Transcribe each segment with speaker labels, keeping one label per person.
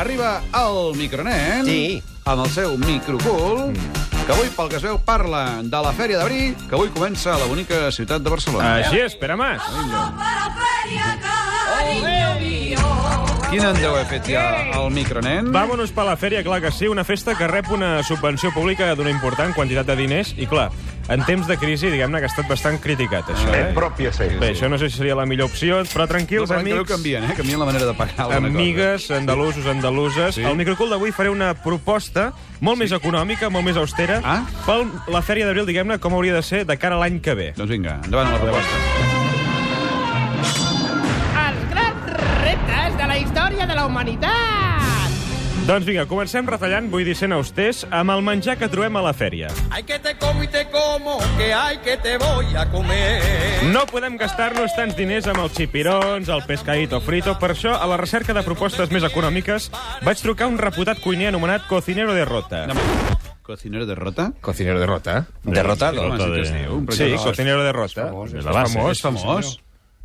Speaker 1: Arriba el micronen
Speaker 2: Sí.
Speaker 1: amb el seu microcul
Speaker 3: Mm.
Speaker 1: que avui, pel que es veu, parla de la Fèria d'Abril que avui comença a la bonica ciutat de Barcelona.
Speaker 4: Así es, pero más.
Speaker 5: Vamos para feria, cariño mío.
Speaker 1: Quin en deu haver fet ja el micronen?
Speaker 4: Vámonos para la feria, clar que sí, una festa que rep una subvenció pública d'una important quantitat de diners i, clar, en temps de crisi, diguem-ne que ha estat bastant criticat, això, eh?
Speaker 6: propia seis.
Speaker 4: Bé, això no sé si seria la millor opció, però
Speaker 1: No,
Speaker 4: tranquils,
Speaker 1: però l'any que veu
Speaker 4: amics,
Speaker 1: canvien, eh? Canvien la manera de pagar alguna
Speaker 4: amigues, andalusos, andaluses.
Speaker 1: Sí.
Speaker 4: Al microcul d'avui faré una proposta molt més econòmica, molt més austera,
Speaker 1: Ah.
Speaker 4: pel la fèria d'abril, diguem-ne, com hauria de ser de cara a l'any que ve.
Speaker 1: cosa. Doncs vinga, endavant amb la proposta.
Speaker 7: els grans reptes de la història de la humanitat.
Speaker 4: Doncs vinga, comencem retallant, vull dir sent austers, amb el menjar que trobem a la fèria.
Speaker 8: Hay que te como y te como, que hay que te voy a comer.
Speaker 4: No podem gastar-nos tants diners amb els xipirons, el pescadito frito. Per això, a la recerca de propostes més econòmiques, vaig trucar un reputat cuiner anomenat Cocinero de Rota.
Speaker 1: Cocinero de rota?
Speaker 6: Cocinero de rota.
Speaker 1: Sí,
Speaker 2: Derrotado.
Speaker 1: home, sí que es diu. però
Speaker 4: Sí,
Speaker 1: això no-
Speaker 4: Cocinero de Rota. És
Speaker 1: És famós, és famós.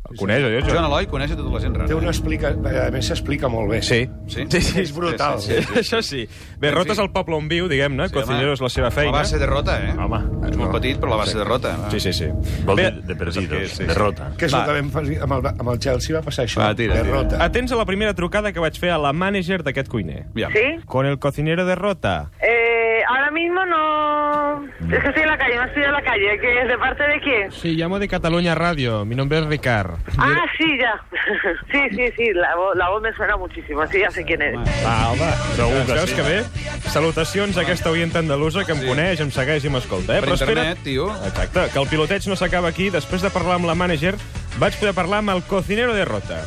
Speaker 6: El coneix, allò,
Speaker 1: Joan Eloi coneix a tota la gent
Speaker 3: Té
Speaker 1: rara.
Speaker 3: una explica... eh, A més, s'explica molt bé.
Speaker 6: Sí.
Speaker 1: Sí?
Speaker 3: És brutal.
Speaker 1: Sí, sí, sí.
Speaker 4: Això sí. Bé, Rota és el poble on viu, diguem-ne. Cocinero és la seva
Speaker 1: La
Speaker 4: feina.
Speaker 1: base de rota, eh?
Speaker 6: Home.
Speaker 1: Ets molt petit, però la base de rota. va.
Speaker 4: Sí, sí, sí.
Speaker 9: Vol
Speaker 4: Bé,
Speaker 9: dir de perdidos, de rota.
Speaker 3: Que és el que vam fer amb el, amb el Chelsea, va passar això.
Speaker 1: Va, tira, tira.
Speaker 3: Derrota.
Speaker 4: atents a la primera trucada que vaig fer a la mànager d'aquest cuiner.
Speaker 1: Aviam.
Speaker 4: Con el cocinero de Rota.
Speaker 10: Eh, ahora mismo no. Es que estoy en la calle, no estoy en la calle. ¿Qué, ¿De parte de quién?
Speaker 4: Sí, llamo de Cataluña Radio. Mi nombre es Ricard.
Speaker 10: Ah, sí, ya. sí, sí, sí, la, vo- la voz me suena muchísimo. Sí, ya sé quién eres.
Speaker 4: Va, home,
Speaker 9: Segur que
Speaker 4: Veus
Speaker 9: sí.
Speaker 4: que bé? Salutacions a aquesta oient andalusa que em coneix, em segueix i m'escolta. Eh?
Speaker 1: Per internet, tio.
Speaker 4: Exacte, que el piloteig no s'acaba aquí. Després de parlar amb la mànager, vaig poder parlar amb el cocinero de Rota.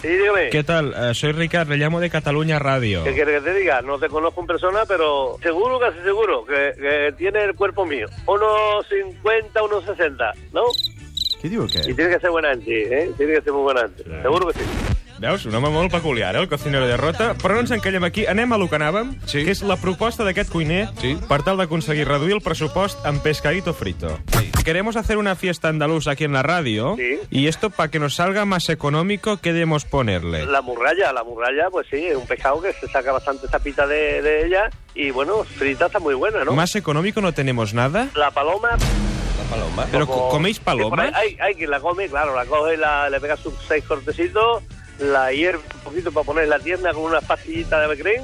Speaker 8: Sí, dígame.
Speaker 4: Què tal? Eh, soy Ricard, le llamo de Catalunya Radio.
Speaker 8: ¿Qué quieres que te diga? No te conozco en persona, pero seguro, casi seguro, que, que tiene el cuerpo mío. Unos 50, unos 60, ¿no?
Speaker 4: Què diu aquest?
Speaker 8: Y tiene que ser buena ¿eh? Tiene que ser muy buena Seguro que sí.
Speaker 4: Veus? Un home molt peculiar, eh, el cocinero de Rota. Però no ens encallem aquí. Anem a lo que anàvem,
Speaker 1: Sí.
Speaker 4: que és la proposta d'aquest cuiner
Speaker 1: Sí.
Speaker 4: per tal d'aconseguir reduir el pressupost en pescadito frito. Queremos hacer una fiesta andaluza aquí en la radio
Speaker 8: Sí.
Speaker 4: y esto para que nos salga más económico, ¿qué debemos ponerle?
Speaker 8: La muralla, la muralla, pues sí, es un pescado que se saca bastante tapita de, de ella y bueno, frita está muy buena, ¿no?
Speaker 4: Más económico no tenemos nada.
Speaker 8: La paloma
Speaker 4: Pero
Speaker 8: Como-
Speaker 4: co- coméis
Speaker 8: Sí, por ahí
Speaker 4: palomas.
Speaker 8: Hay, hay quien la come, claro, la coge, la, le pega sus seis cortecitos, la hierve un poquito para poner la tierna con unas pastillitas de becrín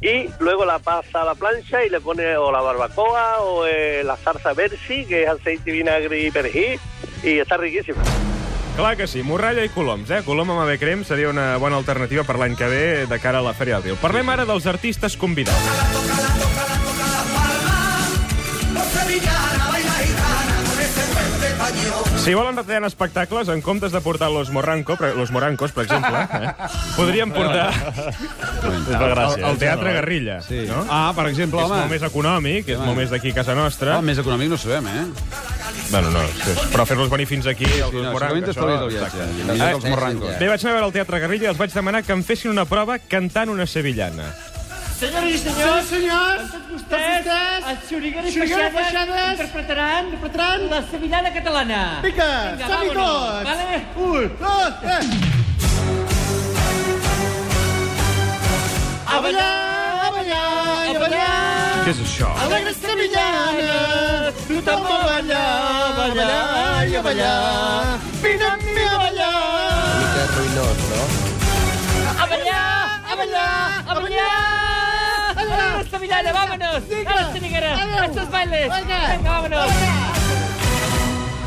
Speaker 8: y luego la pasa a la plancha y le pone o la barbacoa o eh, la salsa versi, que es aceite, vinagre y perejil, y está riquísima.
Speaker 4: Clar que sí, morralla i coloms, eh? Colom amb ave crem seria una bona alternativa per l'any que ve de cara a la Fèria d'Abril. Parlem ara dels artistes convidats. Si volen retallar en espectacles, en comptes de portar los, Morranco, per- los Morancos, per exemple, eh, podríem
Speaker 1: Ah,
Speaker 4: portar
Speaker 9: És la gràcia.
Speaker 4: el Teatre Garrilla,
Speaker 1: eh? Sí.
Speaker 4: no?
Speaker 1: Ah, per exemple,
Speaker 4: És
Speaker 1: home.
Speaker 4: molt més econòmic, és molt més d'aquí a casa nostra.
Speaker 1: Ah, més econòmic no ho sabem, eh?
Speaker 4: Bueno, no, sí, però fer-los venir fins aquí, els
Speaker 1: Sí,
Speaker 4: sí,
Speaker 1: no,
Speaker 4: Morancos...
Speaker 1: segurament t'estalvis el viatge. Millor que els morrancos.
Speaker 4: Eh, Bé, vaig anar a veure el Teatre Garrilla i els vaig demanar que em fessin una prova cantant una sevillana.
Speaker 7: Senyores i senyors, sí, senyors tots vostès, vostès els xurigueres baixades, interpretaran, interpretaran la sevillana catalana. Vinga, Vinga som-hi tots! Vale? Un, dos, tres! A ballar, a ballar, a ballar!
Speaker 1: Què és això?
Speaker 7: Alegres sevillanes, tothom a ballar, a ballar i a ballar. Vine amb mi a ballar. Mica ruïnós, no? A ballar, a ballar, a ballar. Alegres sevillanes, vámonos. A la xiniguera, a estos bailes. Vinga, vámonos.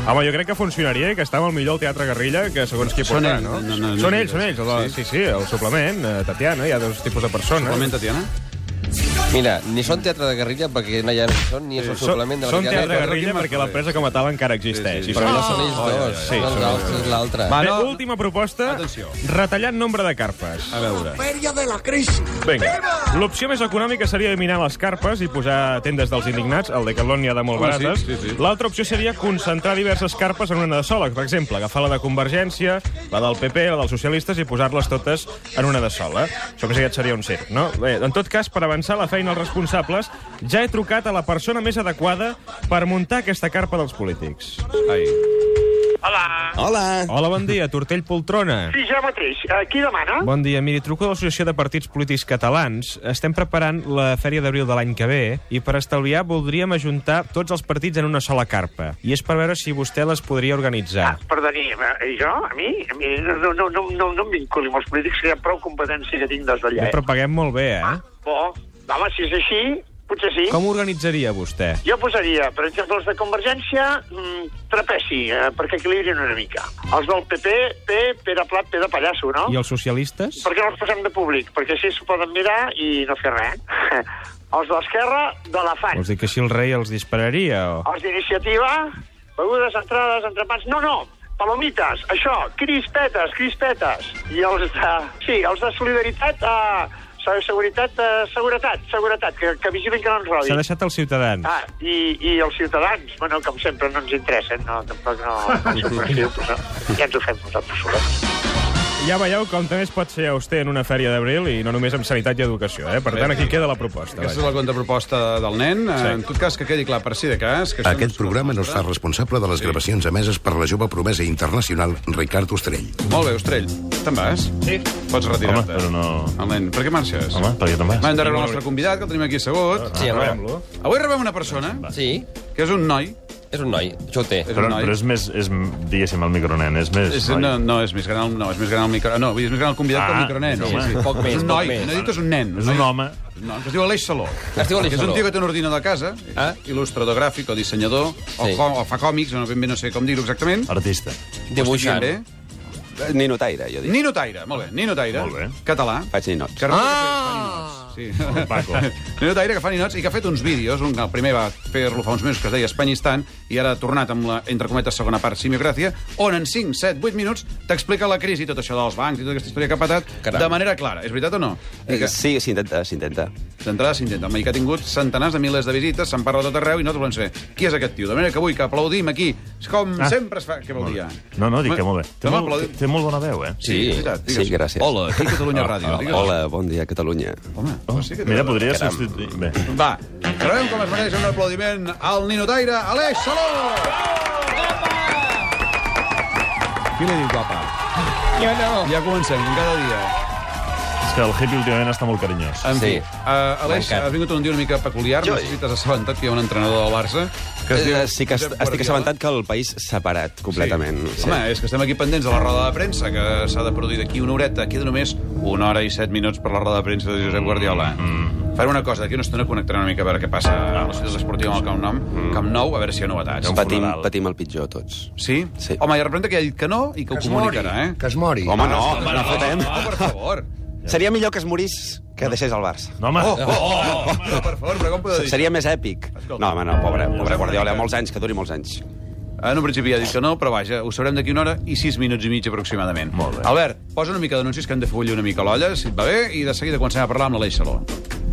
Speaker 4: Home, jo crec que funcionaria i que està molt millor el Teatre Garrilla que segons qui
Speaker 1: Són
Speaker 4: porta,
Speaker 1: ells,
Speaker 4: no?
Speaker 1: no, no, no,
Speaker 4: són
Speaker 1: no,
Speaker 4: ells, són ells. La,
Speaker 1: sí.
Speaker 4: sí. sí, el suplement, eh, Tatiana, hi ha dos tipus de persones.
Speaker 1: Moment, Tatiana?
Speaker 2: Mira, ni són teatre de guerrilla perquè no hi ha ni són, ni és el
Speaker 4: Són,
Speaker 2: suplement de la
Speaker 4: són
Speaker 2: guerrilla.
Speaker 4: Teatre Garrilla
Speaker 1: Joaquim
Speaker 4: perquè la
Speaker 1: Martorell.
Speaker 4: presa com a tal encara existeix.
Speaker 1: Sí, sí,
Speaker 4: Ah! I
Speaker 1: sí.
Speaker 2: Però
Speaker 4: són-
Speaker 2: no són ells
Speaker 1: Oh,
Speaker 2: dos,
Speaker 1: sí,
Speaker 2: sí,
Speaker 1: són
Speaker 2: són l'altre és l'altre.
Speaker 1: Va,
Speaker 4: Bé,
Speaker 1: no.
Speaker 4: última proposta,
Speaker 1: Atenció.
Speaker 4: retallar nombre de carpes.
Speaker 1: A veure.
Speaker 4: Vinga. L'opció més econòmica seria eliminar les carpes i posar tendes dels indignats, el Decathlon n'hi ha de molt
Speaker 1: Home, Oh, sí,
Speaker 4: barates.
Speaker 1: sí, sí.
Speaker 4: L'altra opció seria concentrar diverses carpes en una de sola, per exemple, agafar la de Convergència, la del PP, la dels socialistes i posar-les totes en una de sola. Això més aviat seria un circ, no? Bé, en tot cas, per avançar la feina als responsables, ja he trucat a la persona més adequada per muntar aquesta carpa dels polítics.
Speaker 1: Ai.
Speaker 11: Hola.
Speaker 2: Hola.
Speaker 4: Hola, bon dia, Tortell Poltrona.
Speaker 11: Sí, jo mateix. Eh, qui demana?
Speaker 4: Bon dia, miri, truco de l'Associació de Partits Polítics Catalans. Estem preparant la fèria d'abril de l'any que ve i per estalviar voldríem ajuntar tots els partits en una sola carpa. I és per veure si vostè les podria organitzar.
Speaker 11: Perdoni, eh, jo? A mi? A mi no, no, no, no, no em vinculi amb els polítics, que hi ha prou competència que tinc des d'allà.
Speaker 4: Ja,
Speaker 11: eh?
Speaker 4: però paguem molt bé, eh?
Speaker 11: Bo, home, si és així, potser sí.
Speaker 4: Com ho organitzaria vostè?
Speaker 11: Jo posaria, per exemple, els de Convergència, mm, trapeci, eh, perquè equilibrin una mica. Els del PP, P, Pere Plat, P de Pallasso, no?
Speaker 4: I els socialistes?
Speaker 11: Per què no els posem de públic? Perquè així s'ho poden mirar i no fer res. eh? els de l'esquerra, d'elefant.
Speaker 4: Vols dir que així el rei els dispararia, o...?
Speaker 11: Els d'iniciativa, begudes, entrades, entrepans... No, no, palomites, això, crispetes, crispetes. I els de... Sí, els de solidaritat, eh, seguretat, eh, seguretat, seguretat, que, que vigilin que no ens
Speaker 4: S'ha
Speaker 11: robin.
Speaker 4: deixat els ciutadans.
Speaker 11: Ah, i, i els ciutadans, bueno, com sempre, no ens interessen, no, tampoc no, no som sensibles, no. ja ens ho fem nosaltres sols.
Speaker 4: Ja veieu com també es pot ser auster en una fèria d'abril i no només amb sanitat i educació, eh? Per tant, aquí queda la proposta.
Speaker 1: Aquesta és la contraproposta del nen. Sí. En tot cas, que quedi clar, per si de cas... Que això
Speaker 12: Aquest programa no es fa responsable de les gravacions emeses per la jove promesa internacional Ricard Ostrell.
Speaker 1: no... Molt bé, Ostrell. Te'n vas? Sí. Pots retirar-te. Home, però no... El nen, per què marxes? Home, perquè te'n vas. Va endarrere el nostre convidat, que el tenim aquí assegut.
Speaker 2: Sí, home. Rebem-lo.
Speaker 1: Avui rebem una persona...
Speaker 2: Sí.
Speaker 1: Que és un noi.
Speaker 2: És un noi, això ho té.
Speaker 1: És un
Speaker 9: Però,
Speaker 1: noi.
Speaker 9: però és més, és, diguéssim, el micronen, és més...
Speaker 1: És, no, no, és més gran el, no, és més gran el micro... No, vull dir, és més gran el convidat ah, que el
Speaker 9: Ah,
Speaker 1: micronen.
Speaker 9: sí, home.
Speaker 1: Poc més, és un
Speaker 9: poc
Speaker 1: noi.
Speaker 9: més.
Speaker 1: No he dit és un nen.
Speaker 9: És un
Speaker 1: noi-
Speaker 9: home.
Speaker 1: No, que es diu Aleix Saló.
Speaker 9: Es diu Aleix
Speaker 1: Que És un
Speaker 9: Saló.
Speaker 1: tio que té un ordinador a casa, ah? il·lustrador gràfic o dissenyador, o,
Speaker 9: Sí.
Speaker 1: com, o fa còmics, no, ben bé no sé com dir-ho exactament.
Speaker 9: Artista.
Speaker 1: Dibuixant. Bé?
Speaker 13: Ninotaire, jo dic.
Speaker 1: Nino Taire, molt bé, Nino Taire. Molt bé. Català.
Speaker 13: Faig ninots.
Speaker 1: Que ah! Sí. Paco. Nino Taire, que fa ninots i que ha fet uns vídeos. Un, el primer va fer-lo fa uns mesos, que es deia Espanyistan, i ara ha tornat amb la, entre cometes, segona part, Simiocràcia, on en 5, 7, 8 minuts t'explica la crisi, tot això dels bancs i tota aquesta història que ha patat,
Speaker 13: Caram.
Speaker 1: de manera clara. És veritat o no?
Speaker 9: Eh,
Speaker 1: I
Speaker 13: Eh, Que... Sí, s'intenta, s'intenta.
Speaker 1: D'entrada s'intenta, i que ha tingut centenars de milers de visites, se'n parla a tot arreu i nosaltres volem saber qui és aquest tio. De manera que avui que aplaudim aquí, com ah.
Speaker 9: Ah.
Speaker 1: sempre es fa... Què vol dir? ja?
Speaker 9: No, no, dic que molt bé. Té,
Speaker 1: No
Speaker 9: molt,
Speaker 1: m'aplaudim.
Speaker 9: té molt bona veu, eh?
Speaker 1: Sí, veritat, digues.
Speaker 13: sí, gràcies.
Speaker 1: Hola, aquí Catalunya Ràdio,
Speaker 13: Hola,
Speaker 1: digues.
Speaker 13: Hola, bon dia, Catalunya.
Speaker 1: Home, pues sí que
Speaker 9: Oh,
Speaker 1: té
Speaker 9: Mira,
Speaker 1: gràcies.
Speaker 9: podria
Speaker 13: Caram.
Speaker 9: substituir... Bé.
Speaker 1: Va, trobem com es mereix un aplaudiment al ninotaire Aleix Saló! Qui li diu guapa?
Speaker 2: Jo no.
Speaker 1: Ja comencem, com cada dia.
Speaker 9: És que el hippie últimament està molt carinyós.
Speaker 1: En fi, uh, Aleix,
Speaker 9: Mancat.
Speaker 1: ha vingut un dia una mica peculiar, jo... necessites assabentat que hi ha un entrenador del Barça que es diu...
Speaker 13: Eh, sí que est
Speaker 1: Josep
Speaker 13: estic
Speaker 1: Guardiola.
Speaker 13: assabentat que el país s'ha parat completament.
Speaker 1: Sí. Home, és que estem aquí pendents de la roda de premsa, que s'ha de produir d'aquí una horeta. Queda només una hora i set minuts per la roda de premsa de Josep Guardiola. Mm. Farem una cosa, d'aquí una estona connectarem una mica a veure què passa a la ciutat esportiva amb el Camp Nou, Camp Nou a veure si Mm. hi ha novetats.
Speaker 13: Patim, patim el pitjor tots.
Speaker 1: Sí? sí? Home, i representa que ha dit que no i que, ho
Speaker 13: es
Speaker 1: comunicarà,
Speaker 13: mori,
Speaker 1: eh?
Speaker 13: que es mori. Home, no,
Speaker 1: Ah,
Speaker 13: no fotem.
Speaker 1: No, per favor.
Speaker 13: Seria millor que es morís que deixés el Barça.
Speaker 9: No, home.
Speaker 1: Oh, oh, oh, oh, home, no, per favor, però com podeu dir?
Speaker 13: Seria més èpic. No, home, no, pobre, pobre Guardiola, molts anys, que duri molts anys.
Speaker 1: Ah, En un principi ja ha dit que no, però vaja, ho sabrem d'aquí una hora i sis minuts i mig aproximadament. Molt bé. Albert, posa una mica d'anuncis que hem de fer bullir una mica l'olla, si et va bé, i de seguida comencem a parlar amb l'Aleix Saló.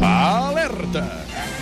Speaker 1: Alerta!